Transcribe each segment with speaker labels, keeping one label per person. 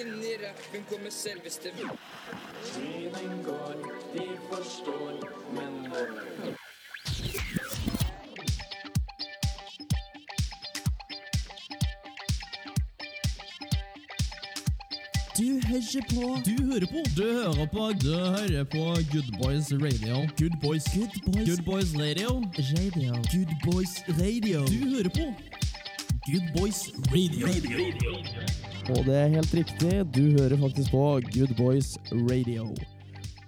Speaker 1: Inni rappen kommer selveste
Speaker 2: Tiden går, de forstår, men nå
Speaker 3: Du hører på
Speaker 4: Du hører på Du hører på Du hører på Good Boys Radio Good Boys
Speaker 3: Good Boys
Speaker 4: Good Boys Radio
Speaker 3: Radio. Good Boys Radio.
Speaker 4: Du hører på Good Boys Radio
Speaker 3: Og det er helt riktig, du hører faktisk på Good Boys Radio.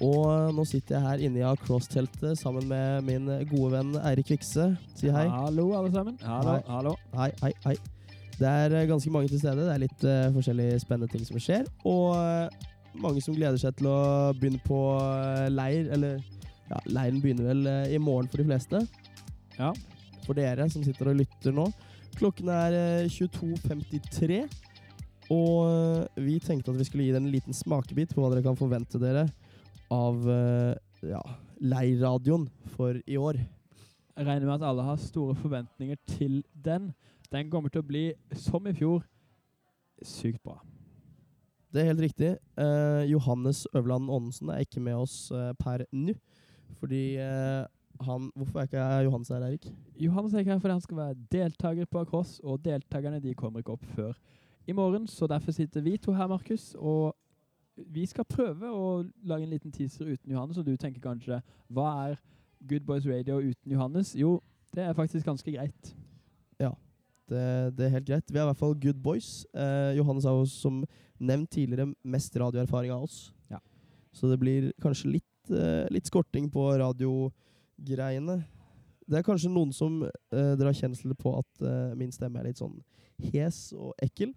Speaker 3: Og nå sitter jeg her inne i Across-teltet sammen med min gode venn Eirik Kvikse. Si hei.
Speaker 5: Hallo, alle sammen. Hallo,
Speaker 3: Hei.
Speaker 5: hallo.
Speaker 3: Hei, hei, hei. Det er eh, ganske mange til stede. Det er litt eh, forskjellige spennende ting som skjer. Og eh, mange som gleder seg til å begynne på eh, leir. Eller ja, leiren begynner vel eh, i morgen for de fleste.
Speaker 5: Ja.
Speaker 3: For dere som sitter og lytter nå. Klokken er eh, 22.53. Og eh, vi tenkte at vi skulle gi dere en liten smakebit på hva dere kan forvente dere av eh, ja, leirradioen for i år.
Speaker 5: Jeg regner med at alle har store forventninger til den. Den kommer til å bli, som i fjor, sykt bra.
Speaker 3: Det er helt riktig. Eh, Johannes Øverland Aanensen er ikke med oss eh, per nå. Fordi eh, han Hvorfor er ikke Johannes her, Erik?
Speaker 5: Johannes er ikke her fordi han skal være deltaker på Akross, og deltakerne de kommer ikke opp før i morgen, så derfor sitter vi to her, Markus, og vi skal prøve å lage en liten teaser uten Johannes, og du tenker kanskje, hva er Good Boys Radio uten Johannes? Jo, det er faktisk ganske greit.
Speaker 3: Det, eh, det er helt greit. Vi er i hvert fall good boys. Eh, Johannes har jo som nevnt tidligere mest radioerfaring av oss.
Speaker 5: Ja.
Speaker 3: Så det blir kanskje litt, eh, litt skorting på radiogreiene. Det er kanskje noen som eh, drar kjensel på at eh, min stemme er litt sånn hes og ekkel.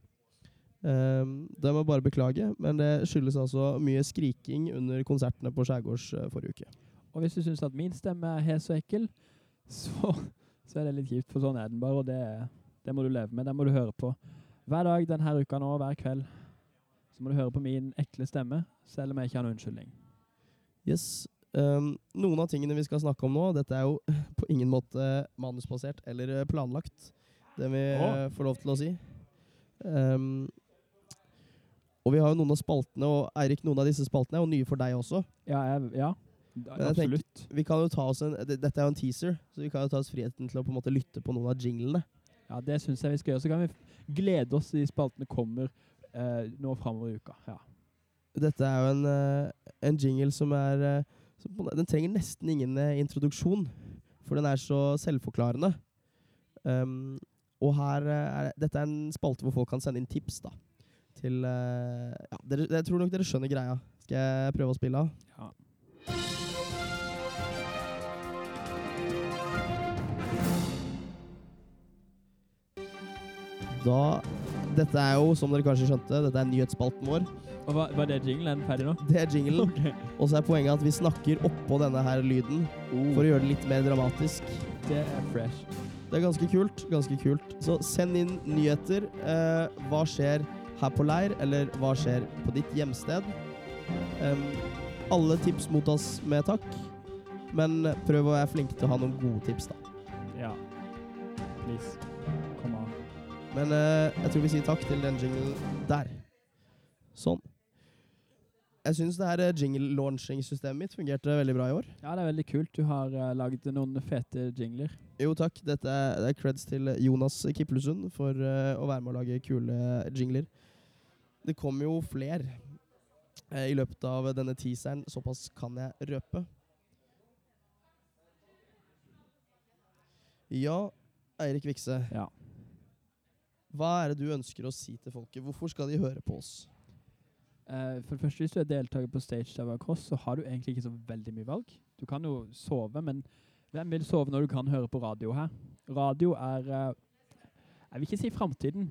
Speaker 3: Um, det må jeg bare beklage, men det skyldes altså mye skriking under konsertene på Skjærgårds eh, forrige uke.
Speaker 5: Og hvis du syns at min stemme er hes og ekkel, så, så er det litt kjipt, for sånn er den bare, og det, det må du leve med. Den må du høre på. Hver dag denne uka nå, hver kveld, så må du høre på min ekle stemme, selv om jeg ikke har noen unnskyldning.
Speaker 3: Yes. Um, noen av tingene vi skal snakke om nå, dette er jo på ingen måte manusbasert eller eh, planlagt. Det vi eh, får lov til å si. Um, og vi har jo noen av spaltene, og Eirik, noen av disse spaltene er jo nye for deg også.
Speaker 5: Ja, jeg, ja.
Speaker 3: jeg tenker-
Speaker 5: absolutt.
Speaker 3: Vi kan jo ta oss en, d- dette er jo en teaser, så vi kan jo ta oss friheten til å på en måte lytte på noen av jinglene.
Speaker 5: Ja, det syns jeg vi skal gjøre. Så kan vi f- glede oss til de spaltene kommer eh, nå framover i uka. Ja.
Speaker 3: Dette er jo en, eh, en jingle som er eh, som på en måte- Den trenger nesten ingen eh, introduksjon, for den er så selvforklarende. Um, og her eh, er, Dette er en spalte hvor folk kan sende inn tips, da. Til eh, ja, dere, Jeg tror nok dere skjønner greia. Skal jeg prøve å spille av?
Speaker 5: Ja.
Speaker 3: Da Dette er jo, som dere kanskje skjønte, dette er nyhetsspalten vår.
Speaker 5: Og hva, Var det jinglen? Er den ferdig nå?
Speaker 3: Det er jinglen.
Speaker 5: Ok.
Speaker 3: Og så er poenget at vi snakker oppå denne her lyden for å gjøre det litt mer dramatisk.
Speaker 5: Det er fresh.
Speaker 3: Det er ganske kult. ganske kult. Så send inn nyheter. Eh, hva skjer her på leir, eller hva skjer på ditt hjemsted? Em, alle tips mottas med takk, men prøv å være flink til å ha noen gode tips, da.
Speaker 5: Ja. Please. Kom an.
Speaker 3: Men eh, jeg tror vi sier takk til den jinglen der. Sånn. Jeg syns det her eh, jingle-launching-systemet mitt fungerte veldig bra i år.
Speaker 5: Ja, det er veldig kult. Du har uh, lagd noen fete jingler.
Speaker 3: Jo takk, dette er, det er creds til Jonas Kiplesund for eh, å være med å lage kule jingler. Det kommer jo fler eh, i løpet av denne teaseren, såpass kan jeg røpe. Ja, Eirik Vikse,
Speaker 5: Ja.
Speaker 3: hva er det du ønsker å si til folket? Hvorfor skal de høre på oss?
Speaker 5: Eh, for det første, hvis du er deltaker på Stage Dive Across, så har du egentlig ikke så veldig mye valg. Du kan jo sove, men hvem vil sove når du kan høre på radio her? Radio er eh, Jeg vil ikke si framtiden,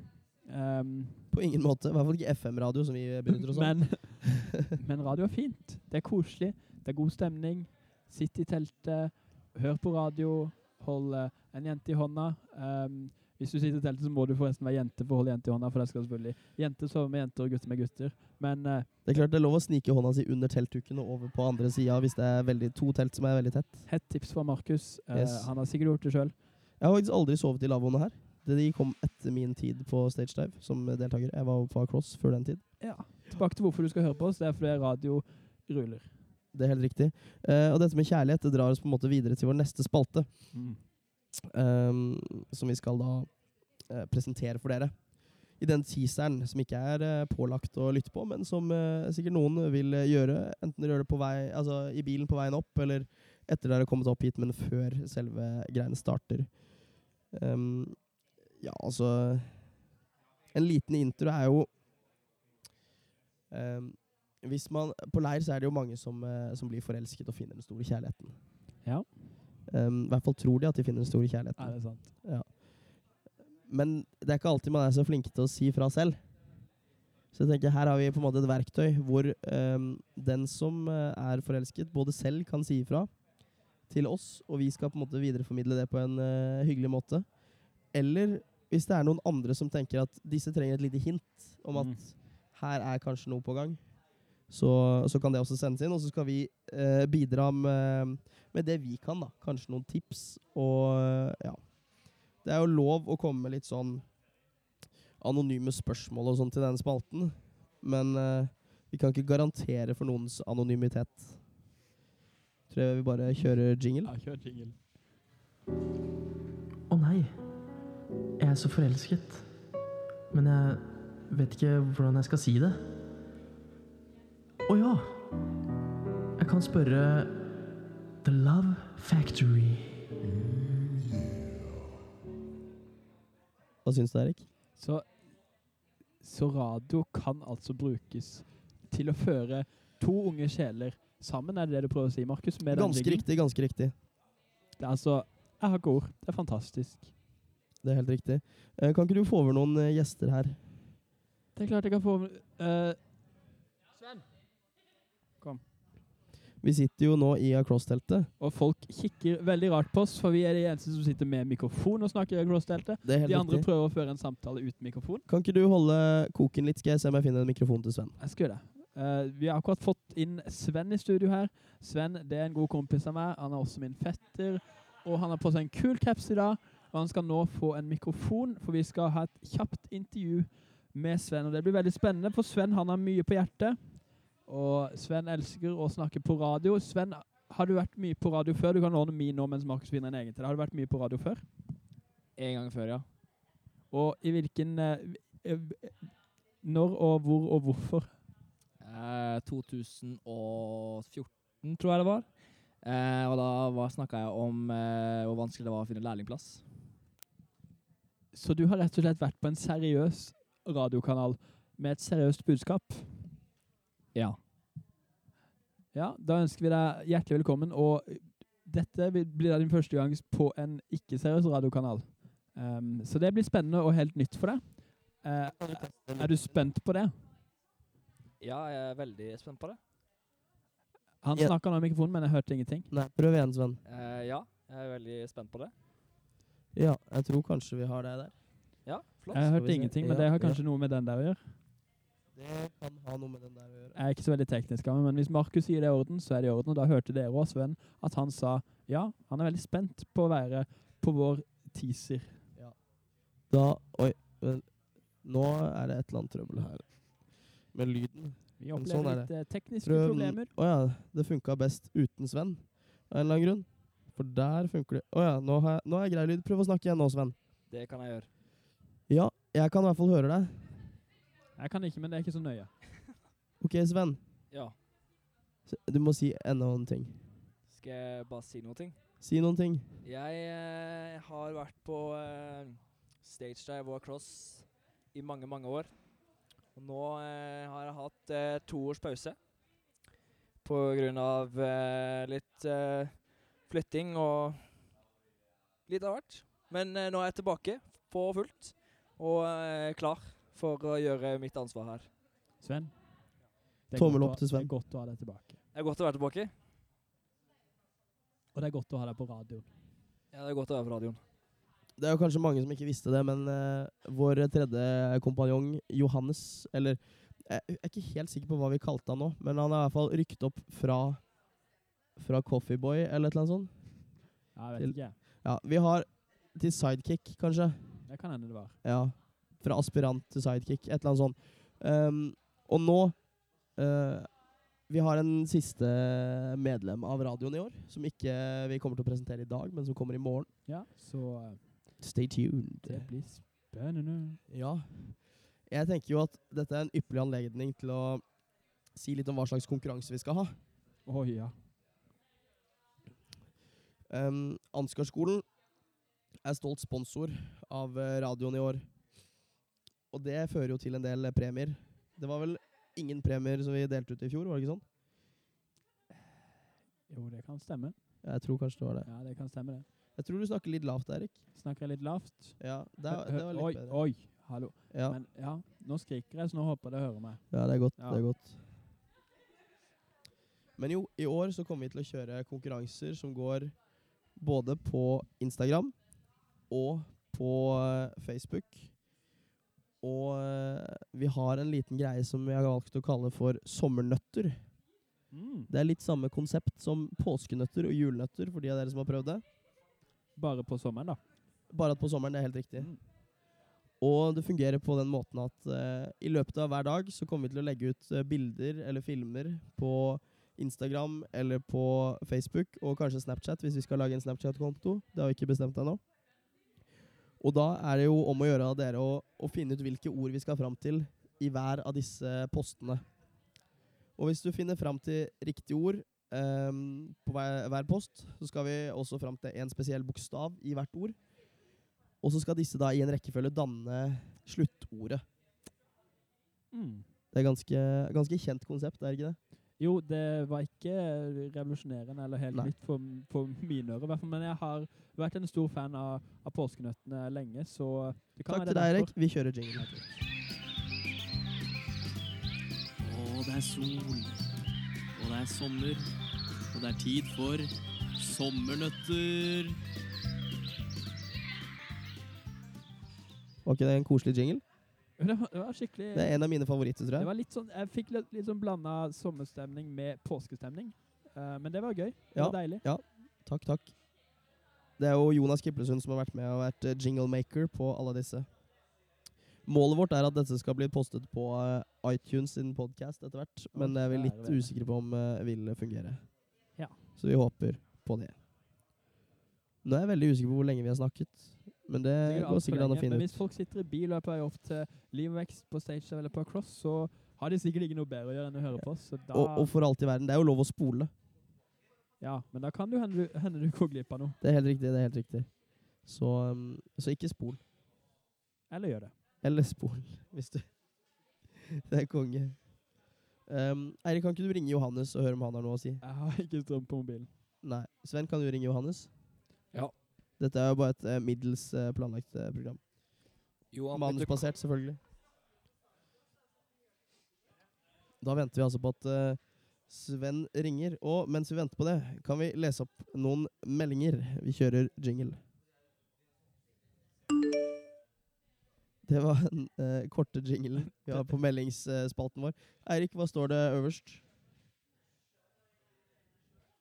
Speaker 5: ehm,
Speaker 3: På ingen måte. I hvert fall ikke FM-radio, som vi benytter oss av.
Speaker 5: men, men radio er fint. Det er koselig, det er god stemning. Sitt i teltet, hør på radio, hold eh, en jente i hånda. Ehm, hvis du sitter i teltet, så må du forresten være jente for å holde jente i hånda, for det skal selvfølgelig jenter sove med jenter og gutter med gutter. Men eh,
Speaker 3: Det er klart det er lov å snike hånda si under teltduken og over på andre sida hvis det er veldig, to telt som er veldig tett.
Speaker 5: Hett tips fra Markus. Eh,
Speaker 3: Yes.
Speaker 5: han har sikkert gjort det sjøl.
Speaker 3: Jeg har faktisk aldri sovet i lavvoene her. De kom etter min tid på stage dive som deltaker. Jeg var på Across før den tid.
Speaker 5: Ja. Tilbake til hvorfor du skal høre på oss. Det er fordi radio ruller.
Speaker 3: Det er helt riktig. Eh, og dette med kjærlighet det drar oss på en måte videre til vår neste spalte, ehm, som vi skal da eh, presentere for dere. I den teaseren som ikke er eh, pålagt å lytte på, men som eh, sikkert noen vil eh, gjøre, enten dere gjør det på vei, altså, i bilen på veien opp, eller etter dere har kommet opp hit, men før selve greiene starter. Ehm, ja, altså En liten intro er jo ehm, hvis man, På leir så er det jo mange som, eh, som blir forelsket og finner den store kjærligheten.
Speaker 5: Ja.
Speaker 3: Ehm, I hvert fall tror de at de finner den store kjærligheten.
Speaker 5: Er det sant?
Speaker 3: Men det er ikke alltid man er så flinke til å si fra selv. Så jeg tenker her har vi på en måte et verktøy hvor ehm, den som eh, er forelsket, både selv kan si ifra til oss, og vi skal på en måte videreformidle det på en eh, hyggelig måte. Eller hvis det er noen andre som tenker at disse trenger et lite hint om at
Speaker 5: Mm.
Speaker 3: her er kanskje noe på gang, så, så kan det også sendes inn. Og så skal vi eh, bidra med, med det vi kan, da. Kanskje noen tips og eh, ja. Det er jo lov å komme med litt sånn anonyme spørsmål og sånn til denne spalten, men eh, vi kan ikke garantere for noens anonymitet. Tror jeg vi bare kjører jingle.
Speaker 5: Ja, kjør jingle.
Speaker 6: Å nei, jeg er så forelsket. Men jeg vet ikke hvordan jeg skal si det. Å ja, jeg kan spørre The Love Factory.
Speaker 3: Hva syns du, Erik?
Speaker 5: Så, så radio kan altså brukes til å føre to unge sjeler sammen, er det det du prøver å si, Markus? med den
Speaker 3: Ganske
Speaker 5: jinglen?
Speaker 3: riktig, ganske riktig.
Speaker 5: Det er altså Jeg har ikke ord. Det er fantastisk.
Speaker 3: Det er helt riktig. Eh, kan ikke du få over noen eh, gjester her?
Speaker 5: Det er klart jeg kan få eh,
Speaker 3: Vi sitter jo nå i Across-teltet.
Speaker 5: Og folk kikker veldig rart på oss, for vi er de eneste som sitter med mikrofon og snakker i crossdeltet.
Speaker 3: Det er helt
Speaker 5: De andre
Speaker 3: riktig.
Speaker 5: prøver å føre en samtale uten mikrofon.
Speaker 3: Kan ikke du holde koken litt, skal jeg se om jeg finner en mikrofon til Sven?
Speaker 5: Jeg skal gjøre det. Eh, vi har akkurat fått inn Sven i studio her. Sven det er en god kompis av meg. Han er også min fetter. Og han har på seg en kul caps i dag. Og han skal nå få en mikrofon, for vi skal ha et kjapt intervju med Sven. Og det blir veldig spennende, for Sven han har mye på hjertet. Og Sven elsker å snakke på radio. Sven, har du vært mye på radio før? Du kan ordne min nå mens Markus finner en egen til deg. Har du vært mye på radio før?
Speaker 7: En gang før, ja.
Speaker 5: Og i hvilken eh, eh, Når og hvor og hvorfor?
Speaker 7: Eh, 2014, tror jeg det var. Eh, og da var- snakka jeg om eh, hvor vanskelig det var å finne lærlingplass.
Speaker 5: Så du har rett og slett vært på en seriøs radiokanal med et seriøst budskap?
Speaker 7: Ja.
Speaker 5: Ja, da ønsker vi deg hjertelig velkommen, og dette vil- blir da din første gang på en ikke-seriøs radiokanal. Ehm, så det blir spennende og helt nytt for deg. Eh, er du spent på det?
Speaker 7: Ja, jeg er veldig spent på det.
Speaker 5: Han
Speaker 3: Ja.
Speaker 5: snakka nå i mikrofonen, men jeg hørte ingenting.
Speaker 3: Nei, prøv igjen, Sven.
Speaker 7: Eh, ja, jeg er veldig spent på det.
Speaker 3: Ja, jeg tror kanskje vi har deg der.
Speaker 7: Ja, flott.
Speaker 5: Jeg
Speaker 3: Skal vi
Speaker 5: hørte
Speaker 3: se.
Speaker 5: ingenting, men
Speaker 3: Ja,
Speaker 5: det har
Speaker 3: ja.
Speaker 5: kanskje noe med den der å gjøre.
Speaker 3: Det kan ha noe med den der å gjøre.
Speaker 5: Jeg er ikke så veldig teknisk, av meg, men hvis Markus sier det i orden, så er det i orden. Og da hørte dere òg, Sven, at han sa ja, han er veldig spent på å være på vår teaser.
Speaker 3: Da Oi. men Nå er det et eller annet trøbbel her med lyden.
Speaker 5: Vi
Speaker 3: Men
Speaker 5: opplever
Speaker 3: sånn er
Speaker 5: litt eh, tekniske
Speaker 3: Prøv-
Speaker 5: problemer.
Speaker 3: Å ja, det funka best uten Sven av en eller annen grunn. For der funker det Å ja, nå har jeg, nå har jeg grei lyd. Prøv å snakke igjen nå, Sven.
Speaker 7: Det kan jeg gjøre.
Speaker 3: Ja, jeg kan i hvert fall høre deg.
Speaker 5: Jeg kan ikke, men det er ikke så nøye.
Speaker 3: OK, Sven.
Speaker 7: Ja.
Speaker 3: S- Du må si enda en ting.
Speaker 7: Skal jeg bare si noen ting?
Speaker 3: Si noen ting.
Speaker 7: Jeg eh, har vært på eh, stage dive og cross i mange, mange år. Og nå eh, har jeg hatt eh, to års pause på grunn av eh, litt eh, flytting og litt av hvert. Men eh, nå er jeg tilbake på fullt og eh, klar for å gjøre mitt ansvar her.
Speaker 5: Sven? Det er
Speaker 3: Tommel
Speaker 5: godt å-
Speaker 3: opp til Sven.
Speaker 5: Det er godt å ha deg tilbake.
Speaker 7: Det er godt å være tilbake.
Speaker 5: Og det er godt å ha deg på radioen.
Speaker 7: Ja, det er godt å være på radioen.
Speaker 3: Det er jo kanskje mange som ikke visste det, men eh, vår tredje kompanjong, Johannes Eller jeg jeg er ikke helt sikker på hva vi kalte han nå, men han er i hvert fall rykket opp fra Fra Coffeeboy eller et eller annet sånt.
Speaker 5: Ja, jeg vet ikke.
Speaker 3: Ja, vi har til sidekick, kanskje.
Speaker 5: Det Det kan hende det var.
Speaker 3: Ja. Fra aspirant til sidekick. Et eller annet sånt. Ehm, og nå eh, Vi har en siste medlem av radioen i år, som ikke vi kommer til å presentere i dag, men som kommer i morgen.
Speaker 5: Ja, så eh,
Speaker 3: Stay tuned.
Speaker 5: det blir spennende.
Speaker 3: Ja. Jeg tenker jo at dette er en ypperlig anledning til å si litt om hva slags konkurranse vi skal ha.
Speaker 5: Å ja.
Speaker 3: Um, Ansgarskolen er stolt sponsor av eh, radioen i år. Og det fører jo til en del eh, premier. Det var vel ingen premier som vi delte ut i fjor, var det ikke sånn?
Speaker 5: Jo, det kan stemme.
Speaker 3: Jeg tror kanskje det var det.
Speaker 5: Ja, det kan stemme, det.
Speaker 3: sånn? Jeg tror du snakker litt lavt, Erik.
Speaker 5: Snakker jeg litt lavt?
Speaker 3: Ja, det, er- det var
Speaker 5: oi,
Speaker 3: litt bedre.
Speaker 5: oi, hallo.
Speaker 3: Ja,
Speaker 5: Men ja, nå skriker jeg, så nå håper jeg det hører meg.
Speaker 3: ja det er godt.
Speaker 5: Ja.
Speaker 3: Det er godt. Men jo, i år så kommer vi til å kjøre konkurranser som går både på Instagram og på eh, Facebook. Og eh, vi har en liten greie som vi har valgt å kalle for sommernøtter. Det er litt samme konsept som påskenøtter og julenøtter, for de av dere som har prøvd det.
Speaker 5: Bare på sommeren, da.
Speaker 3: Bare at på sommeren, det er helt riktig.
Speaker 5: Mm.
Speaker 3: Og det fungerer på den måten at eh, i løpet av hver dag så kommer vi til å legge ut eh, bilder eller filmer på Instagram eller på Facebook og kanskje Snapchat hvis vi skal lage en Snapchat-konto. Det har vi ikke bestemt ennå. Og da er det jo om å gjøre av dere å, å finne ut hvilke ord vi skal fram til i hver av disse postene. Og hvis du finner fram til riktige ord ehm, på hver, hver post, så skal vi også fram til en spesiell bokstav i hvert ord. Og så skal disse da i en rekkefølge danne sluttordet.
Speaker 5: Mm.
Speaker 3: Det er ganske, ganske kjent konsept, er det ikke det?
Speaker 5: Jo, det var ikke revolusjonerende eller helt
Speaker 3: Nei.
Speaker 5: nytt for, for mine ører, i hvert fall. Men jeg har vært en stor fan av, av påskenøttene lenge, så det kan
Speaker 3: Takk
Speaker 5: være
Speaker 3: til
Speaker 5: det
Speaker 3: deg,
Speaker 5: er
Speaker 3: Erik. Vi kjører jingle.
Speaker 4: Og det er sol, og det er sommer, og det er tid for sommernøtter.
Speaker 3: Var ikke det en koselig jingle?
Speaker 5: derfor. Det var, det var skikkelig
Speaker 3: Det er en av mine favoritter, tror
Speaker 5: Det
Speaker 3: jeg.
Speaker 5: var litt sånn, Jeg fikk litt, litt sånn blanda sommerstemning med påskestemning. Eh, men det var gøy. Det
Speaker 3: Ja.
Speaker 5: var deilig.
Speaker 3: Takk, takk. Det er jo Jonas Kiplesund som har vært med og vært eh, jinglemaker på alle disse. Målet vårt er at dette skal bli postet på eh, iTunes sin podkast etter hvert, men det er vi
Speaker 5: kjære
Speaker 3: litt
Speaker 5: vene.
Speaker 3: usikre på om eh, vil fungere.
Speaker 5: Ja.
Speaker 3: Så vi håper på det. Nå er jeg veldig usikker på hvor lenge vi har snakket, men Eh, det
Speaker 5: Sikkert alt
Speaker 3: går
Speaker 5: for
Speaker 3: sikkert an å
Speaker 5: lenge,
Speaker 3: finne
Speaker 5: Men
Speaker 3: ut.
Speaker 5: hvis folk sitter i bil og er på vei opp til Liv og Vekst på stage eller på cross, så har de sikkert ikke noe bedre å gjøre enn å høre på oss. Så da,
Speaker 3: Og, og for alt i verden, det er jo lov å spole.
Speaker 5: ja, men da kan det jo hende du, hende du går glipp av noe.
Speaker 3: Det er helt riktig. det er helt riktig. Så, um, så ikke spol.
Speaker 5: Eller gjør det.
Speaker 3: Eller spol, hvis du Det er konge. Um, Eirik, kan ikke du ringe Johannes og høre om han har noe å si?
Speaker 5: Jeg har ikke strøm på mobilen.
Speaker 3: Nei. Sven, kan du ringe Johannes?
Speaker 7: Ja.
Speaker 3: Dette er jo bare et eh, middels eh, planlagt eh, program.
Speaker 1: Jo, han begynte å
Speaker 3: Manusbasert, selvfølgelig. Da venter vi altså på at eh, Sven ringer. Og mens vi venter på det, kan vi lese opp noen meldinger. Vi kjører jingle. Det var den eh, korte jinglen vi har på meldingsspalten vår. Eirik, hva står det øverst?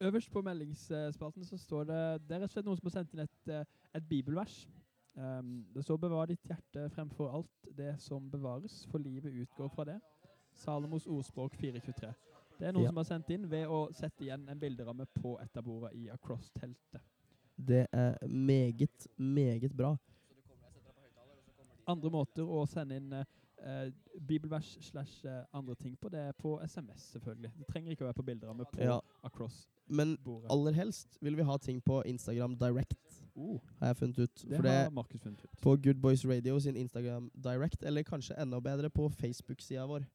Speaker 5: Øverst på meldingsspalten så står det Det er rett og slett noen som har sendt inn et, eh, et bibelvers. Ehm, det står 'Bevar ditt hjerte fremfor alt det som bevares, for livet utgår fra det'. Salomos ordspråk 423. Det er noen
Speaker 3: Ja.
Speaker 5: som har sendt inn ved å sette igjen en bilderamme på et av bordene i Across-teltet.
Speaker 3: Det er meget, meget bra.
Speaker 5: Andre måter å sende inn eh, eh, bibelvers slash eh, andre ting på, det er på SMS, selvfølgelig. Det trenger ikke å være på bilderamme på
Speaker 3: Ja,
Speaker 5: Across-bordet.
Speaker 3: men aller helst vil vi ha ting på Instagram direct,
Speaker 5: Oh,
Speaker 3: har jeg funnet ut.
Speaker 5: det
Speaker 3: For det
Speaker 5: har Markus funnet ut.
Speaker 3: på Good Boys Radio sin Instagram Direct, eller kanskje enda bedre på Facebook-sida vår.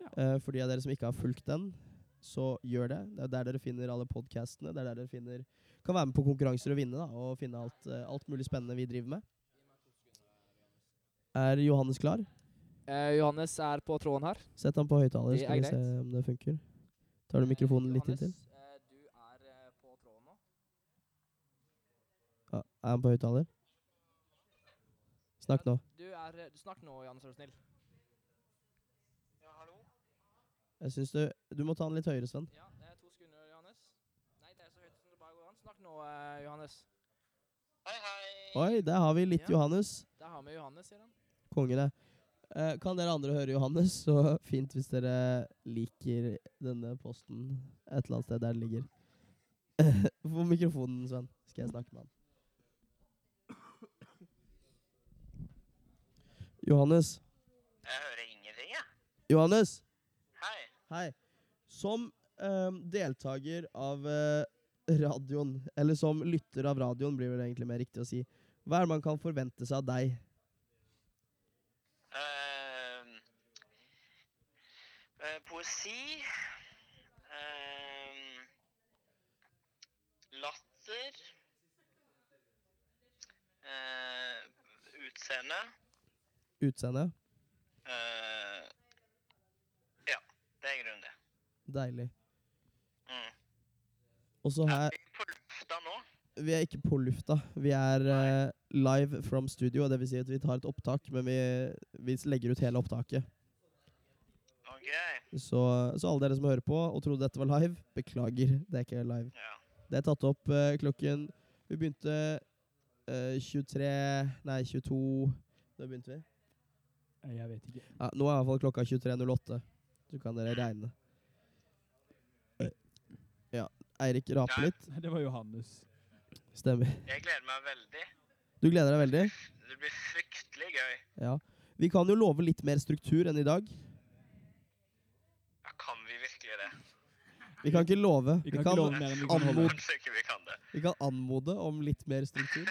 Speaker 5: Ja.
Speaker 3: Eh, for de av dere som ikke har fulgt den, så gjør det. Det er der dere finner alle podkastene. Det er der dere finner, kan være med på konkurranser og vinne, da, og finne alt, eh, alt mulig spennende vi driver med. Er Johannes klar?
Speaker 7: Eh, Johannes er på tråden her.
Speaker 3: Sett han på høyttaler,
Speaker 7: Det
Speaker 3: skal
Speaker 7: er
Speaker 3: vi se
Speaker 7: greit.
Speaker 3: om det funker. Tar du mikrofonen litt inntil?
Speaker 7: eh, du er eh, på tråden nå.
Speaker 3: Ja, er han på høyttaler? Snakk nå.
Speaker 7: Du er Snakk nå, Johannes, er du snill. Ja, hallo?
Speaker 3: Jeg synes du, du må ta den litt høyere, Sven.
Speaker 7: Ja, det er to sekunder, Johannes. Nei, det er så høyt som det bare går an. Snakk nå, eh, Johannes. Hei, hei.
Speaker 3: Oi, der har vi litt
Speaker 7: Ja.
Speaker 3: Johannes.
Speaker 7: Der har med Johannes, sier han.
Speaker 3: Konge, det. Eh, kan dere andre høre Johannes, så fint hvis dere liker denne posten et eller annet sted der den ligger. På mikrofonen, Sven, skal jeg snakke med han. Johannes.
Speaker 8: Jeg hører ingenting, jeg.
Speaker 3: Johannes!
Speaker 8: Hei.
Speaker 3: Hei. Som eh, deltaker av eh, radioen, eller som lytter av radioen, blir vel egentlig mer riktig å si, hva er det man kan forvente seg av deg?
Speaker 8: Ehm, eh, poesi. ehm, latter. eh, utseende.
Speaker 3: Utseende?
Speaker 8: eh, ja, det er i grunnen det.
Speaker 3: Deilig.
Speaker 8: Mm.
Speaker 3: Og så
Speaker 8: Er
Speaker 3: her
Speaker 8: vi på lufta nå?
Speaker 3: Vi er ikke på lufta. Vi er eh, live from studio. og Det vil si at vi tar et opptak, men vi, vi legger ut hele opptaket.
Speaker 8: OK.
Speaker 3: Så, så alle dere som hører på og trodde dette var live, beklager. Det er ikke live.
Speaker 8: Ja.
Speaker 3: Det er tatt opp eh, klokken Vi begynte eh, 23 Nei, 22 Da begynte vi.
Speaker 5: Jeg vet ikke.
Speaker 3: Ja, nå er i hvert fall klokka 23.08. Så kan dere regne. Ja. Eirik raper litt.
Speaker 5: Det var Johannes.
Speaker 3: Stemmer.
Speaker 8: Jeg gleder meg veldig.
Speaker 3: Du gleder deg veldig?
Speaker 8: Det blir fryktelig gøy.
Speaker 3: Ja. Vi kan jo love litt mer struktur enn i dag.
Speaker 8: Ja, kan vi virkelig det?
Speaker 3: Vi kan ikke love. Vi
Speaker 5: kan
Speaker 3: kan,
Speaker 5: ikke love mer enn vi kan holde.
Speaker 3: anmode,
Speaker 8: Kanskje ikke vi kan det.
Speaker 3: vi kan anmode om litt mer struktur.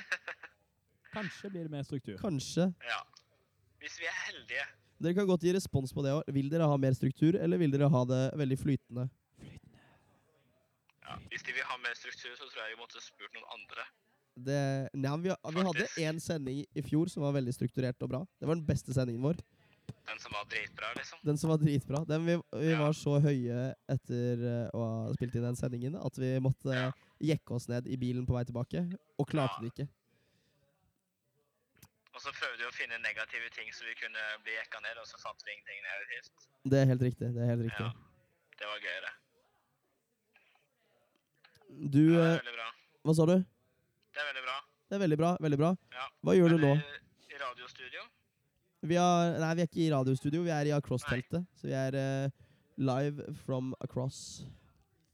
Speaker 5: Kanskje blir det mer struktur.
Speaker 3: Kanskje.
Speaker 8: Ja. Hvis vi er heldige.
Speaker 3: Dere kan godt gi respons på det òg. Vil dere ha mer struktur, eller vil dere ha det veldig flytende?
Speaker 8: Ja, hvis de vil ha mer struktur, så tror jeg vi måtte spurt noen andre.
Speaker 3: Det, nei, vi, vi hadde
Speaker 8: Faktisk.
Speaker 3: én sending i fjor som var veldig strukturert og bra. Det var den beste sendingen vår.
Speaker 8: Den som var dritbra, liksom.
Speaker 3: Den som var dritbra. Den vi, vi
Speaker 8: Ja.
Speaker 3: var så høye etter eh, å ha spilt inn den sendingen at vi måtte eh, jekke oss ned i bilen på vei tilbake, og klarte det ikke.
Speaker 8: Og så prøvde vi å finne negative ting så vi kunne bli jekka ned, og så fant vi ingenting negativt.
Speaker 3: Det er helt riktig. det er helt riktig.
Speaker 8: Ja. Det var gøy, det.
Speaker 3: Du,
Speaker 8: Ja, det
Speaker 3: eh,
Speaker 8: er veldig bra.
Speaker 3: hva sa du?
Speaker 8: Det er veldig bra.
Speaker 3: Det er veldig bra. veldig bra.
Speaker 8: Ja.
Speaker 3: Hva gjør du nå?
Speaker 8: Er I radiostudio?
Speaker 3: Vi er, nei, vi er ikke i radiostudio, vi er i Across-teltet. Så vi er eh, live from across.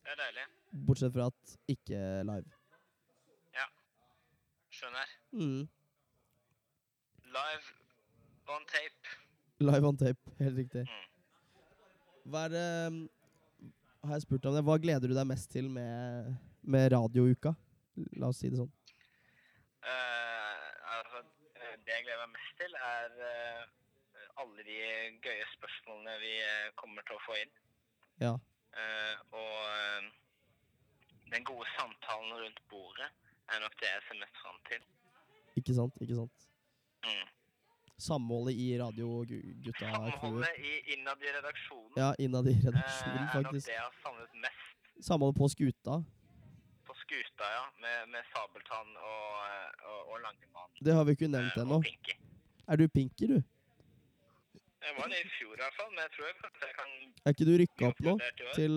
Speaker 8: Det er deilig.
Speaker 3: Bortsett fra at ikke live.
Speaker 8: Skjønner.
Speaker 3: Mm.
Speaker 8: Live on tape.
Speaker 3: Live on tape, helt riktig.
Speaker 8: Mm.
Speaker 3: Hva er det eh, Har jeg spurt om det? Hva gleder du deg mest til med, med radiouka? La oss si det sånn.
Speaker 8: Eh, altså, eh, det jeg gleder meg mest til, er eh, alle de gøye spørsmålene vi eh, kommer til å få inn.
Speaker 3: Ja.
Speaker 8: Eh, og eh, den gode samtalen rundt bordet er nok det jeg ser mest fram til.
Speaker 3: Ikke sant? Ikke sant?
Speaker 8: Mm.
Speaker 3: Samholdet i radiogutta.
Speaker 8: Samholdet i, innad i redaksjonen
Speaker 3: Ja, innad i
Speaker 8: eh,
Speaker 3: redaksjonen,
Speaker 8: er nok
Speaker 3: faktisk.
Speaker 8: det jeg har savnet mest
Speaker 3: Samholdet på skuta.
Speaker 8: på skuta, ja. Med, med Sabeltann og, eh, og, og Langemann.
Speaker 3: Det har vi ikke
Speaker 8: eh,
Speaker 3: nevnt ennå.
Speaker 8: og Pinky.
Speaker 3: Er du pinky, du?
Speaker 8: Jeg var det i fjor i hvert fall, men jeg tror jeg kanskje jeg kan
Speaker 3: Er ikke du
Speaker 8: bli
Speaker 3: rykka opp nå?
Speaker 8: oppgradert i år.
Speaker 3: til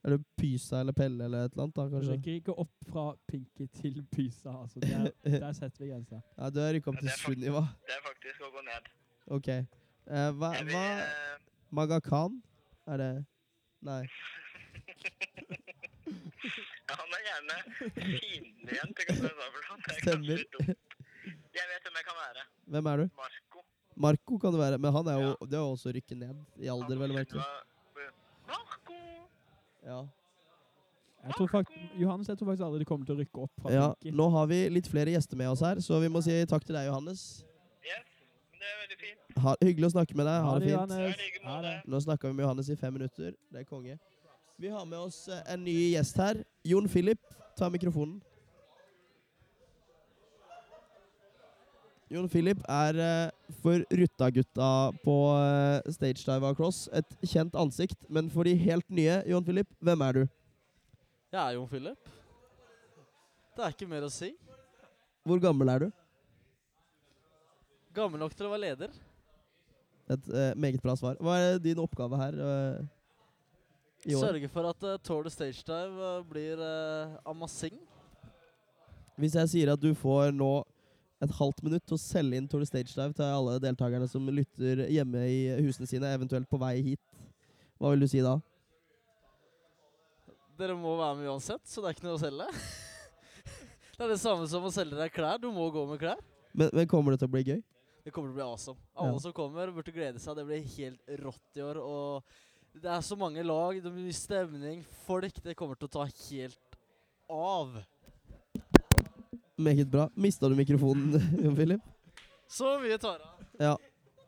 Speaker 3: Er det Pysa eller Pelle eller et eller annet, da,
Speaker 5: Du
Speaker 3: kanskje?
Speaker 5: rekker ikke opp fra Pinky til Pysa. Altså, der, der setter vi grensa.
Speaker 3: Ja, du har rykka opp
Speaker 8: Ja,
Speaker 3: til
Speaker 8: det er faktisk-
Speaker 3: Sunniva.
Speaker 8: Det er faktisk å gå ned.
Speaker 3: OK. Eh, hva,
Speaker 8: Jeg vil,
Speaker 3: hva
Speaker 8: eh,
Speaker 3: Magakan? Er det Nei.
Speaker 8: Ja, han er gjerne fienden igjen til Kaptein Sabeltann. Det er kanskje
Speaker 3: Stemmer.
Speaker 8: litt dumt. Jeg vet hvem jeg kan være.
Speaker 3: Hvem er du?
Speaker 8: Marco.
Speaker 3: Marco kan det være. Men han er jo, det er jo også rykket ned i alder, vel å merke.
Speaker 8: merke. Marco!
Speaker 3: Ja.
Speaker 5: Jeg tror fakt- Johannes, jeg tror faktisk aldri det kommer til å rykke opp fra
Speaker 3: ja.
Speaker 5: Pinky.
Speaker 3: Nå har vi litt flere gjester med oss her, så vi må si takk til deg, Johannes.
Speaker 8: Yes, det er veldig fint.
Speaker 3: Ha, hyggelig å snakke med deg. Ha det fint.
Speaker 8: Det
Speaker 5: Johannes.
Speaker 8: er like
Speaker 5: Ha
Speaker 8: måte.
Speaker 5: det.
Speaker 3: Nå snakka vi med Johannes i fem minutter. Det er konge. Vi har med oss eh, en ny gjest her. Jon Philip, ta mikrofonen. Jon Philip er eh, for Ruttagutta på eh, Stage Dive Across et kjent ansikt. Men for de helt nye, Jon Philip, hvem er du?
Speaker 9: Jeg er Jon Philip. Det er ikke mer å si.
Speaker 3: Hvor gammel er du?
Speaker 9: Gammel nok til å være leder.
Speaker 3: Et eh, meget bra svar. Hva er din oppgave her eh, i år?
Speaker 9: Sørge for at uh, Tour de Stage Dive eh, blir eh, amassing.
Speaker 3: Hvis jeg sier at du får nå et halvt minutt til å selge inn Tour de Stage Dive til alle deltakerne som lytter hjemme i husene sine, eventuelt på vei hit. Hva vil du si da?
Speaker 9: Dere må være med uansett, så det er ikke noe å selge. det er det samme som å selge deg klær. Du må gå med klær.
Speaker 3: Men, men kommer det til å bli gøy?
Speaker 9: Det kommer til å bli awesome. Alle
Speaker 3: Ja.
Speaker 9: som kommer, burde glede seg. Det blir helt rått i år. Og det er så mange lag, det blir mye stemning, folk. Det kommer til å ta helt av.
Speaker 3: Meget bra. Mista du mikrofonen, Jon Philip?
Speaker 9: Så mye tar av.
Speaker 3: Ja,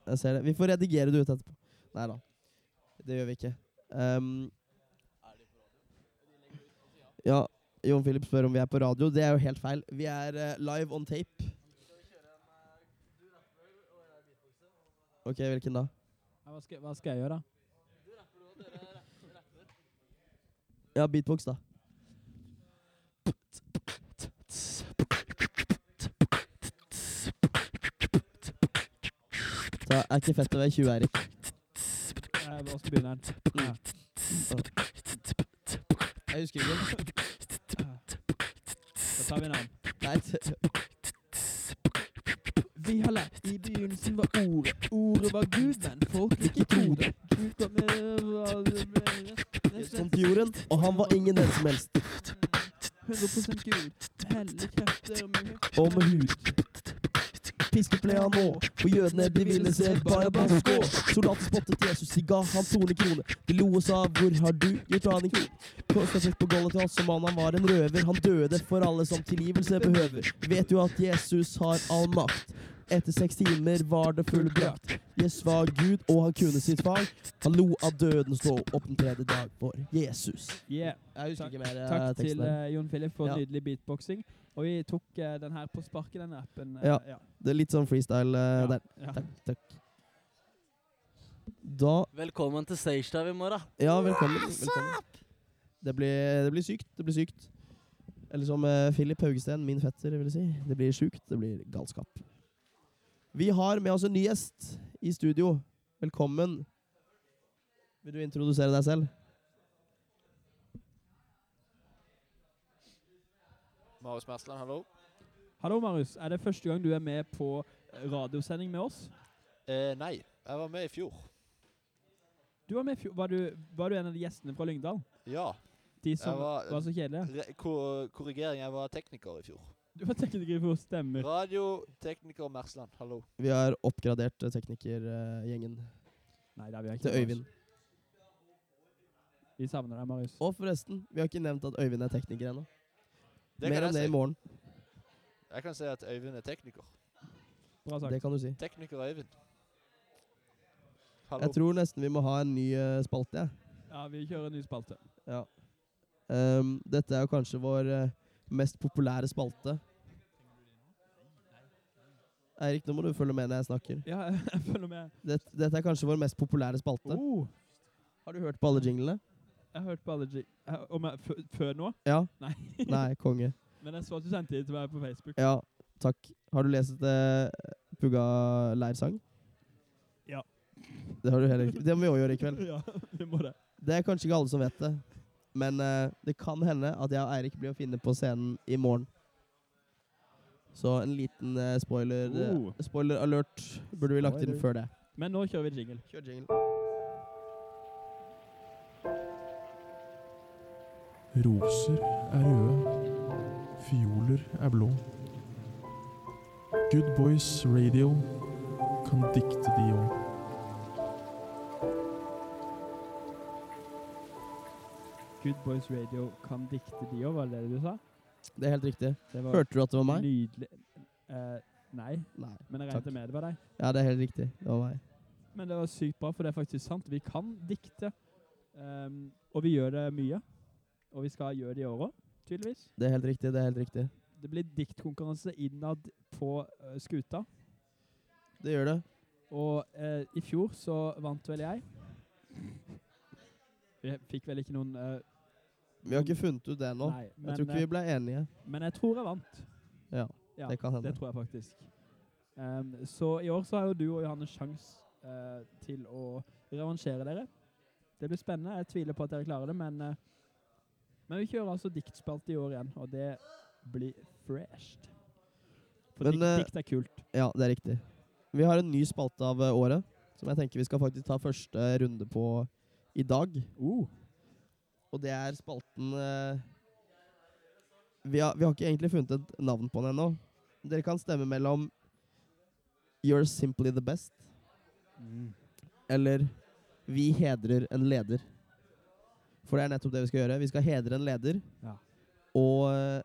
Speaker 3: jeg ser det. Vi får redigere det ut etterpå. Nei da. Det gjør vi ikke. Ehm, ja, Jon Philip spør om vi er på radio. Det er jo helt feil. Vi er eh, live on tape. OK, hvilken da?
Speaker 5: Hva skal, hva skal jeg gjøre, da?
Speaker 3: Ja, beatbox, da. Så er ikke fett å være 20, Eirik.
Speaker 5: Eh, Hvor skal begynne? Ja.
Speaker 3: Jeg husker ikke.
Speaker 5: Da tar vi en annen.
Speaker 3: Nei, t-
Speaker 5: Vi har lært i begynnelsen var ordet. Ordet var Gud, men folk ikke trodde. Gud var med, var med
Speaker 3: sånn til jorden. Og han var ingen den som helst.
Speaker 5: 100 Gud. Hellige krefter med
Speaker 3: Og med hud. Pisket ble han nå, for jødene de ville se Barabas gå. Soldaten spottet Jesus, de ga han 200 kroner. De lo og sa, hvor har du gjort av din kone? Korset fikk på Golgata som om han var en røver. Han døde for alle som tilgivelse behøver. Vet jo at Jesus har all makt. Etter seks timer var det fullbrakt. Jesus var Gud, og han kunne sitt fag. Han lo av døden stå opp den tredje dag for Jesus.
Speaker 5: Yeah.
Speaker 3: Jeg
Speaker 5: husker
Speaker 3: ikke mer
Speaker 5: Takk til eh, Jon Philip for
Speaker 3: Ja.
Speaker 5: nydelig beatboxing. Og vi tok eh, den her på sparket, den appen. eh,
Speaker 3: Ja. Det er litt sånn freestyle eh, der.
Speaker 5: ja.
Speaker 3: Takk, takk. Da
Speaker 9: Velkommen til Stagedive i morgen.
Speaker 3: Ja, velkommen. velkommen. Det, blir, det blir sykt. Det blir sykt. Eller som eh, Philip Haugesten, min fetter, vil si. Det blir sjukt. Det blir galskap. Vi har med oss en ny gjest i studio. Velkommen. Vil du introdusere deg selv?
Speaker 10: Marius Mersland, hallo.
Speaker 5: Hallo, Marius. Er det første gang du er med på eh, radiosending med oss?
Speaker 10: Eh, nei, jeg var med i fjor.
Speaker 5: Du var, med, i fjor- var, du, var du en av de gjestene fra Lyngdal?
Speaker 10: Ja.
Speaker 5: De som
Speaker 10: Jeg
Speaker 5: var,
Speaker 10: var-
Speaker 5: så kjedelige?
Speaker 10: Re ko korrigering, jeg var tekniker i fjor.
Speaker 5: Du var tekniker for stemmer.
Speaker 10: Radiotekniker Mersland, hallo.
Speaker 3: Vi har oppgradert eh, teknikergjengen
Speaker 5: Nei, det har vi ikke.
Speaker 3: til
Speaker 5: Marius.
Speaker 3: Øyvind.
Speaker 5: Vi savner deg, Marius.
Speaker 3: Og forresten, vi har ikke nevnt at Øyvind er tekniker ennå.
Speaker 10: Det
Speaker 3: Mer
Speaker 10: kan
Speaker 3: om det
Speaker 10: jeg,
Speaker 3: i morgen.
Speaker 10: si. jeg kan si at Øyvind er tekniker.
Speaker 5: Bra sagt.
Speaker 3: Det kan du si.
Speaker 10: Tekniker Øyvind. Hallo.
Speaker 3: Jeg tror nesten vi må ha en ny eh, spalte, jeg.
Speaker 5: Ja, vi kjører en ny spalte.
Speaker 3: Ja. Ehm, dette er jo kanskje vår eh, mest populære spalte. Eirik, nå må du følge med når jeg snakker.
Speaker 5: Ja, jeg følger med.
Speaker 3: Dette, dette er kanskje vår mest populære spalte.
Speaker 5: Oh,
Speaker 3: Har du hørt på alle jinglene?
Speaker 5: jeg hørte på allergi. Eh, Om jeg, fø- før nå?
Speaker 3: Ja.
Speaker 5: Nei.
Speaker 3: Nei, konge.
Speaker 5: Men jeg så at du sendte det til meg på Facebook.
Speaker 3: Ja, takk. Har du lest eh, Pugga leirsang?
Speaker 5: Ja.
Speaker 3: Det har du heller ikke. Det må vi òg gjøre i kveld.
Speaker 5: Ja, vi må det.
Speaker 3: Det er kanskje ikke alle som vet det, men eh, det kan hende at jeg og Eirik blir å finne på scenen i morgen. Så en liten eh, spoiler eh,
Speaker 5: Oh.
Speaker 3: Spoiler alert burde vi lagt inn før det.
Speaker 5: Men nå kjører vi jingle.
Speaker 3: Kjør jingle.
Speaker 11: Roser er røde, fioler er blå. Good Boys Radio kan dikte de òg.
Speaker 5: Good Boys Radio kan dikte de òg, var det det du sa?
Speaker 3: Det er helt riktig.
Speaker 5: Det var
Speaker 3: Hørte du at det var meg?
Speaker 5: nydelig. Eh, nei,
Speaker 3: Nei.
Speaker 5: men jeg
Speaker 3: Takk.
Speaker 5: regnet med det var deg.
Speaker 3: Ja, det er helt riktig. Det var meg.
Speaker 5: Men det var sykt bra, for det er faktisk sant. Vi kan dikte. Ehm, og vi gjør det mye. Og vi skal gjøre det i år òg, tydeligvis.
Speaker 3: Det er helt riktig. Det er helt riktig.
Speaker 5: Det blir diktkonkurranse innad på eh, skuta.
Speaker 3: Det gjør det.
Speaker 5: Og eh, i fjor så vant vel jeg. Vi fikk vel ikke noen eh,
Speaker 3: Vi har ikke funnet ut det ennå.
Speaker 5: Nei,
Speaker 3: Jeg
Speaker 5: men,
Speaker 3: tror ikke
Speaker 5: eh,
Speaker 3: vi ble enige.
Speaker 5: men jeg tror jeg vant.
Speaker 3: Ja,
Speaker 5: Ja,
Speaker 3: det kan hende.
Speaker 5: Det tror jeg faktisk. Ehm, så i år så har jo du og Johanne sjans eh, til å revansjere dere. Det blir spennende. Jeg tviler på at dere klarer det, men, eh, men vi kjører altså diktspalte i år igjen, og det blir fresht. For For dikt-
Speaker 3: eh,
Speaker 5: dikt er kult.
Speaker 3: Ja, det er riktig. Vi har en ny spalte av eh, året, som jeg tenker vi skal faktisk ta første runde på i dag.
Speaker 5: Uh,
Speaker 3: Og det er spalten eh, vi, har, vi har ikke egentlig funnet et navn på den ennå. Dere kan stemme mellom You're simply the best eller Vi hedrer en leder. For det er nettopp det vi skal gjøre. Vi skal hedre en leder.
Speaker 5: Ja.
Speaker 3: Og eh,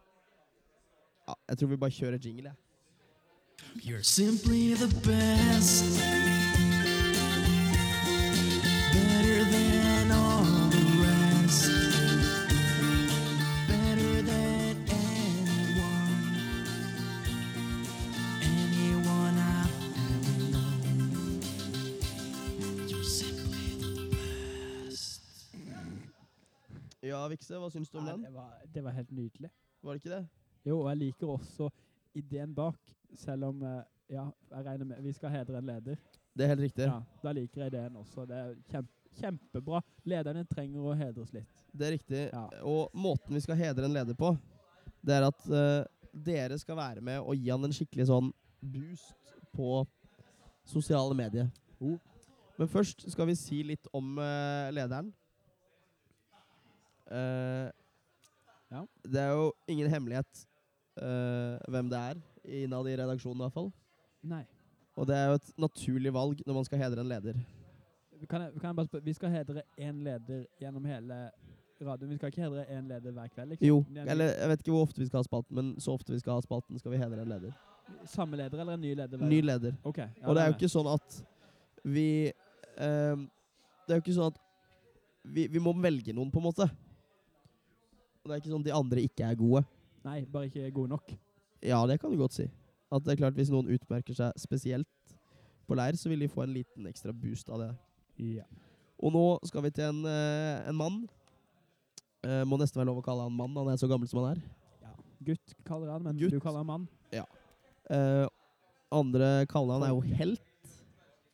Speaker 3: ja, Jeg tror vi bare kjører jingle, jeg.
Speaker 2: You're simply the best. Better than all the rest. Better than anyone. Anyone I've ever known. You're simply the best.
Speaker 3: Ja, Vikse, hva syns du om
Speaker 5: Nei,
Speaker 3: den?
Speaker 5: det, var, det var helt nydelig.
Speaker 3: Var det ikke det?
Speaker 5: Jo, og jeg liker også ideen bak, selv om eh, Ja, jeg regner med Vi skal hedre en leder.
Speaker 3: Det er helt riktig.
Speaker 5: Ja, da liker jeg ideen også. Det er kjempe, kjempebra. Lederne trenger å hedres litt.
Speaker 3: Det er riktig. Og måten vi skal hedre en leder på, det er at eh, dere skal være med og gi han en skikkelig sånn boost på sosiale medier. Men først skal vi si litt om eh, lederen. Eh, Det er jo ingen hemmelighet eh, hvem det er, innad i redaksjonen i hvert fall.
Speaker 5: Nei.
Speaker 3: Og det er jo et naturlig valg når man skal hedre en leder.
Speaker 5: Kan jeg, kan jeg bare spørre, vi skal hedre én leder gjennom hele radioen. Vi skal ikke hedre én leder hver kveld? liksom.
Speaker 3: Jo,
Speaker 5: Det er
Speaker 3: eller jeg vet ikke hvor ofte vi skal ha spalten, men så ofte vi skal ha spalten, skal vi hedre en leder.
Speaker 5: Samme leder eller en ny leder? hver
Speaker 3: Ny
Speaker 5: gang?
Speaker 3: leder.
Speaker 5: Ok. ja,
Speaker 3: og det er jo
Speaker 5: med.
Speaker 3: ikke sånn at vi ehm, Det er jo ikke sånn at vi, vi må velge noen, på en måte. Og det er ikke sånn at de andre ikke er gode.
Speaker 5: Nei, bare ikke god nok.
Speaker 3: Ja, det kan du godt si. At det er klart Hvis noen utmerker seg spesielt på leir, så vil de få en liten ekstra boost av det.
Speaker 5: Ja.
Speaker 3: Og nå skal vi til en, eh, en mann. Eh, må nesten være lov å kalle han mann. Han er så gammel som han er.
Speaker 5: Gutt kaller han, men du kaller han mann.
Speaker 3: Ja. Eh, andre kallenavn er jo helt,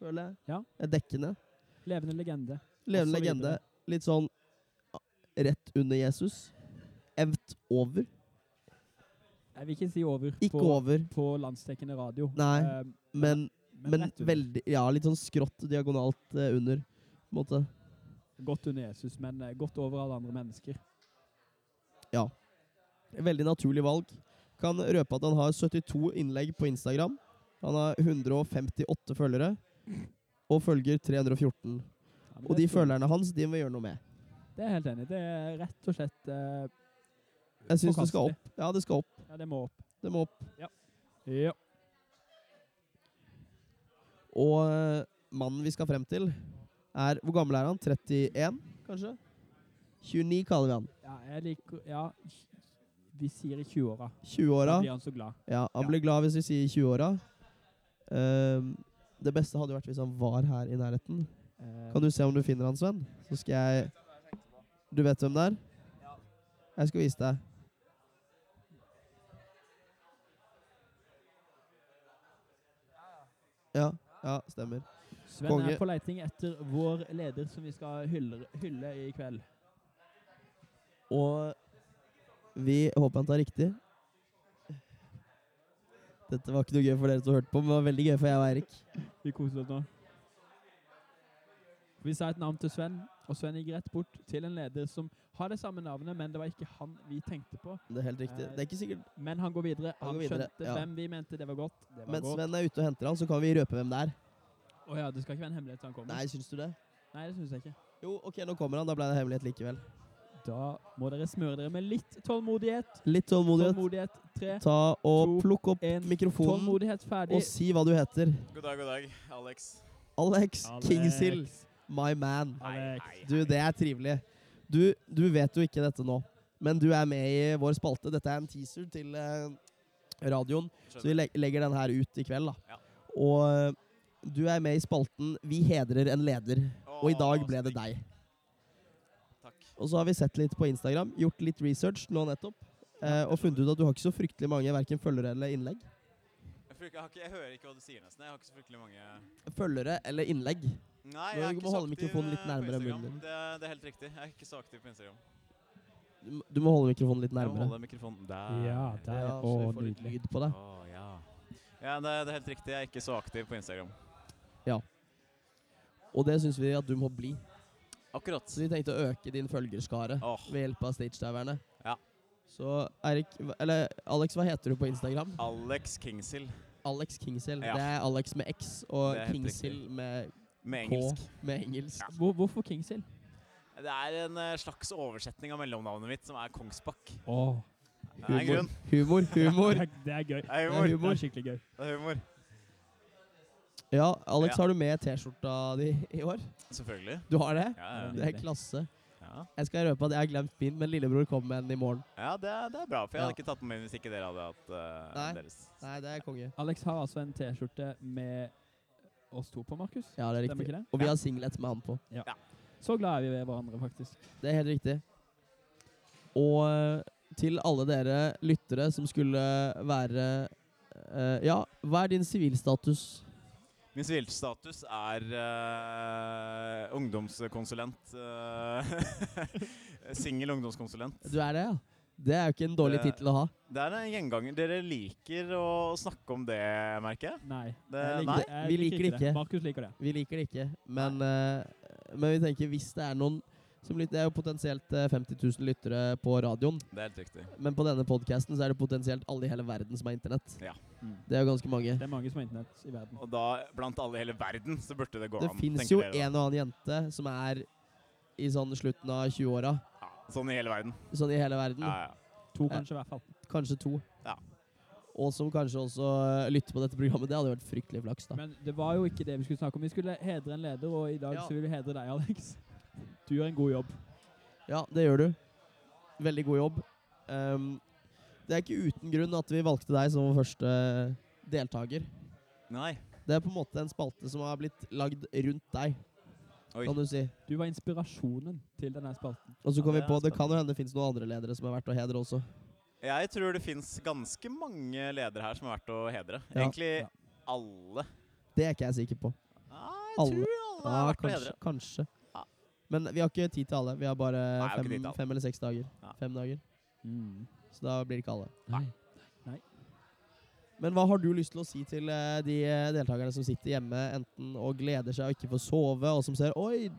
Speaker 3: føler jeg.
Speaker 5: Ja.
Speaker 3: Er dekkende.
Speaker 5: Levende legende.
Speaker 3: Levende
Speaker 5: Og så
Speaker 3: legende.
Speaker 5: videre.
Speaker 3: Litt sånn ah, rett under Jesus. Evt over.
Speaker 5: Jeg vil ikke si over.
Speaker 3: Ikke over.
Speaker 5: På landsdekkende radio.
Speaker 3: Nei,
Speaker 5: Eh,
Speaker 3: men,
Speaker 5: men
Speaker 3: men
Speaker 5: rett under.
Speaker 3: veldig Ja, litt sånn skrått diagonalt eh, under, på en måte.
Speaker 5: Godt under Jesus, men eh, godt over alle andre mennesker.
Speaker 3: Ja. Veldig naturlig valg. Kan røpe at han har 72 innlegg på Instagram. Han har 158 følgere. Og følger 314.
Speaker 5: men
Speaker 3: og
Speaker 5: det
Speaker 3: de
Speaker 5: er stort.
Speaker 3: følgerne hans, de må gjøre noe med.
Speaker 5: Det er jeg helt enig. i. Det er rett og slett eh,
Speaker 3: Jeg syns det skal
Speaker 5: forkastelig.
Speaker 3: opp. Ja, det skal opp.
Speaker 5: Ja, det må opp.
Speaker 3: Det må opp.
Speaker 5: Ja. ja.
Speaker 3: Og eh, mannen vi skal frem til, er Hvor gammel er han? 31, kanskje? 29 kaller vi han.
Speaker 5: Ja, jeg liker Ja, vi sier i 20-åra.
Speaker 3: 20-åra.
Speaker 5: Da blir han så glad.
Speaker 3: Ja, han blir glad hvis vi sier 20-åra. Ehm, det beste hadde jo vært hvis han var her i nærheten.
Speaker 5: Eh.
Speaker 3: Kan du se om du finner han, Sven? Så skal jeg Du vet hvem det er? Jeg skal vise deg. Ja. Ja, stemmer.
Speaker 5: Sven er på leiting etter vår leder, som vi skal hylle, hylle i kveld.
Speaker 3: Og vi håper han tar riktig. Dette var ikke noe gøy for dere som hørte på, men det var veldig gøy for jeg og Eirik.
Speaker 5: Vi koser oss nå. Vi sa et navn til Sven, og Sven gikk rett bort til en leder som har det samme navnet, men det var ikke han vi tenkte på.
Speaker 3: Det er helt riktig.
Speaker 5: Eh,
Speaker 3: Det er ikke sikkert
Speaker 5: Men han går videre.
Speaker 3: Han
Speaker 5: Han,
Speaker 3: går videre,
Speaker 5: skjønte
Speaker 3: ja.
Speaker 5: hvem vi mente det var godt. Det var
Speaker 3: Mens
Speaker 5: godt.
Speaker 3: Sven er ute og henter han, så kan vi røpe hvem det er.
Speaker 5: Å ja, det skal ikke være en hemmelighet til han kommer.
Speaker 3: Nei, syns du det?
Speaker 5: Nei, det syns jeg ikke.
Speaker 3: Jo, OK, nå kommer han. Da ble det hemmelighet likevel.
Speaker 5: Da må dere smøre dere med litt tålmodighet.
Speaker 3: Litt tålmodighet.
Speaker 5: Tålmodighet. Tre.
Speaker 3: Ta og plukk opp mikrofonen
Speaker 5: Tålmodighet ferdig.
Speaker 3: og si hva du heter.
Speaker 12: God dag, god dag. Alex.
Speaker 3: Alex,
Speaker 12: Alex.
Speaker 3: Kingshill. My man. Du, det er trivelig. Du, du vet jo ikke dette nå, men du er med i vår spalte. Dette er en teaser til eh, radioen, så vi leg legger den her ut i kveld. da. Og eh, du er med i spalten Vi hedrer en leder, og i dag ble det deg. Og så har vi sett litt på Instagram, gjort litt research nå nettopp, eh, og funnet ut at du har ikke så fryktelig mange hverken følgere eller innlegg.
Speaker 12: Jeg, fryk- jeg, har ikke, jeg hører ikke hva du sier, nesten. Jeg har ikke så fryktelig mange
Speaker 3: Følgere eller innlegg.
Speaker 12: Nei,
Speaker 3: Nå
Speaker 12: jeg er
Speaker 3: må
Speaker 12: ikke
Speaker 3: du
Speaker 12: så
Speaker 3: holde
Speaker 12: aktiv
Speaker 3: mikrofonen litt
Speaker 12: eh,
Speaker 3: nærmere
Speaker 12: på Instagram.
Speaker 3: munnen din.
Speaker 12: Det, det er helt riktig. Jeg er ikke så aktiv på Instagram.
Speaker 3: Du må- Du må holde mikrofonen litt
Speaker 12: Jeg må
Speaker 3: nærmere.
Speaker 12: holde mikrofonen der.
Speaker 5: Ja, der.
Speaker 3: Ja, så
Speaker 5: Å,
Speaker 3: vi får litt
Speaker 5: nydelig.
Speaker 3: lyd på det.
Speaker 12: Å, ja. Ja, det, det er helt riktig. Jeg er ikke så aktiv på Instagram.
Speaker 3: Ja. Og det syns vi at du må bli.
Speaker 12: Akkurat.
Speaker 3: Så vi tenkte å øke din følgerskare ved hjelp av stagediverne.
Speaker 12: Ja.
Speaker 3: Så Erik, hva- eller Alex, hva heter du på Instagram?
Speaker 12: Alex Kingsill.
Speaker 3: Alex Kingsill.
Speaker 12: Ja.
Speaker 3: Det er Alex med X og
Speaker 12: Det er helt
Speaker 3: Kingsill
Speaker 12: riktig.
Speaker 3: med,
Speaker 12: Med
Speaker 3: K
Speaker 12: engelsk.
Speaker 3: med engelsk.
Speaker 5: Hvor, hvorfor Kingsill?
Speaker 12: Det er en eh, slags oversetning av mellomnavnet mitt, som er Kongsbakk.
Speaker 5: Åh.
Speaker 12: Det er en grunn.
Speaker 3: Humor, humor.
Speaker 5: det, er, det er gøy.
Speaker 12: Det er humor.
Speaker 5: Det er skikkelig gøy.
Speaker 12: Det er humor.
Speaker 3: Ja, Alex,
Speaker 12: Ja.
Speaker 3: har du med T-skjorta di i år?
Speaker 12: Selvfølgelig.
Speaker 3: Du har det?
Speaker 12: Ja, ja, ja.
Speaker 3: Det er klasse.
Speaker 12: Ja.
Speaker 3: Jeg skal røpe at jeg har glemt min, men lillebror kommer med den i morgen.
Speaker 12: Ja, det er, det er bra, for jeg
Speaker 3: Ja.
Speaker 12: hadde ikke tatt på meg hvis ikke dere hadde hatt eh,
Speaker 3: Nei.
Speaker 12: deres.
Speaker 3: Nei, det er konge.
Speaker 5: Alex har altså en T-skjorte med oss to på, Markus.
Speaker 3: Ja, det er
Speaker 5: Stemmer
Speaker 3: riktig.
Speaker 5: ikke det?
Speaker 3: Og vi har singlet med han på.
Speaker 5: Ja. Så glad er vi ved hverandre, faktisk.
Speaker 3: Det er helt riktig. Og eh, til alle dere lyttere som skulle være eh, Ja, hva er din sivilstatus?
Speaker 12: Min sivilstatus er eh, ungdomskonsulent. eh, Singel ungdomskonsulent.
Speaker 3: Du er det, ja? Det er jo ikke en dårlig
Speaker 12: Det-
Speaker 3: tittel å ha.
Speaker 12: Det er en gjenganger. Dere liker å snakke om det, merker jeg.
Speaker 5: Nei.
Speaker 12: Det,
Speaker 5: Jeg liker-
Speaker 12: nei?
Speaker 5: jeg
Speaker 3: Vi liker det ikke.
Speaker 5: Markus liker det.
Speaker 3: Vi liker det ikke, men, eh, men vi tenker hvis det er noen som lytter Det er jo potensielt eh, 50 000 lyttere på radioen.
Speaker 12: Det er helt riktig.
Speaker 3: Men på denne podkasten er det potensielt alle i hele verden som har internett.
Speaker 12: Ja. Mm.
Speaker 3: Det er jo ganske mange.
Speaker 5: Det er mange som har internett i verden.
Speaker 12: Og da, blant alle i hele verden, så burde det gå
Speaker 3: Det
Speaker 12: an.
Speaker 3: fins
Speaker 12: tenker
Speaker 3: jo
Speaker 12: dere da.
Speaker 3: en og annen jente som er i sånn slutten av 20-åra.
Speaker 12: Sånn i hele verden.
Speaker 3: Sånn i hele verden.
Speaker 12: Ja, ja.
Speaker 5: To,
Speaker 3: Eh,
Speaker 5: kanskje, i hvert fall.
Speaker 3: Kanskje to.
Speaker 12: Ja.
Speaker 3: Og som kanskje også eh, lytter på dette programmet. Det hadde jo vært fryktelig flaks, da.
Speaker 5: Men det var jo ikke det vi skulle snakke om. Vi skulle hedre en leder, og i dag
Speaker 3: Ja.
Speaker 5: så vil vi hedre deg, Alex. Du gjør en god jobb.
Speaker 3: Ja, det gjør du. Veldig god jobb. Ehm, det er ikke uten grunn at vi valgte deg som vår første eh, deltaker.
Speaker 12: Nei.
Speaker 3: Det er på en måte en spalte som har blitt lagd rundt deg,
Speaker 12: Oi.
Speaker 3: kan du si.
Speaker 5: Du var inspirasjonen til denne spalten.
Speaker 3: Og så kom
Speaker 12: det
Speaker 3: vi
Speaker 12: er
Speaker 3: på det
Speaker 12: spennende.
Speaker 3: kan jo hende det fins noen andre ledere som er verdt å hedre også.
Speaker 12: Jeg tror det fins ganske mange ledere her som er verdt å hedre.
Speaker 3: Ja.
Speaker 12: Egentlig alle.
Speaker 3: Det er ikke jeg sikker på.
Speaker 12: tror alle er verdt å
Speaker 3: kanskje,
Speaker 12: hedre.
Speaker 3: kanskje. Men vi har ikke tid til alle. Vi har bare
Speaker 12: Nei, vi har ikke tid
Speaker 3: fem,
Speaker 12: til alle.
Speaker 3: fem eller seks dager. Fem dager. Så da blir det ikke alle.
Speaker 5: Nei.
Speaker 3: Men hva har du lyst til å si til eh, de eh, deltakerne som sitter hjemme enten og gleder seg og ikke får sove, og som ser Oi,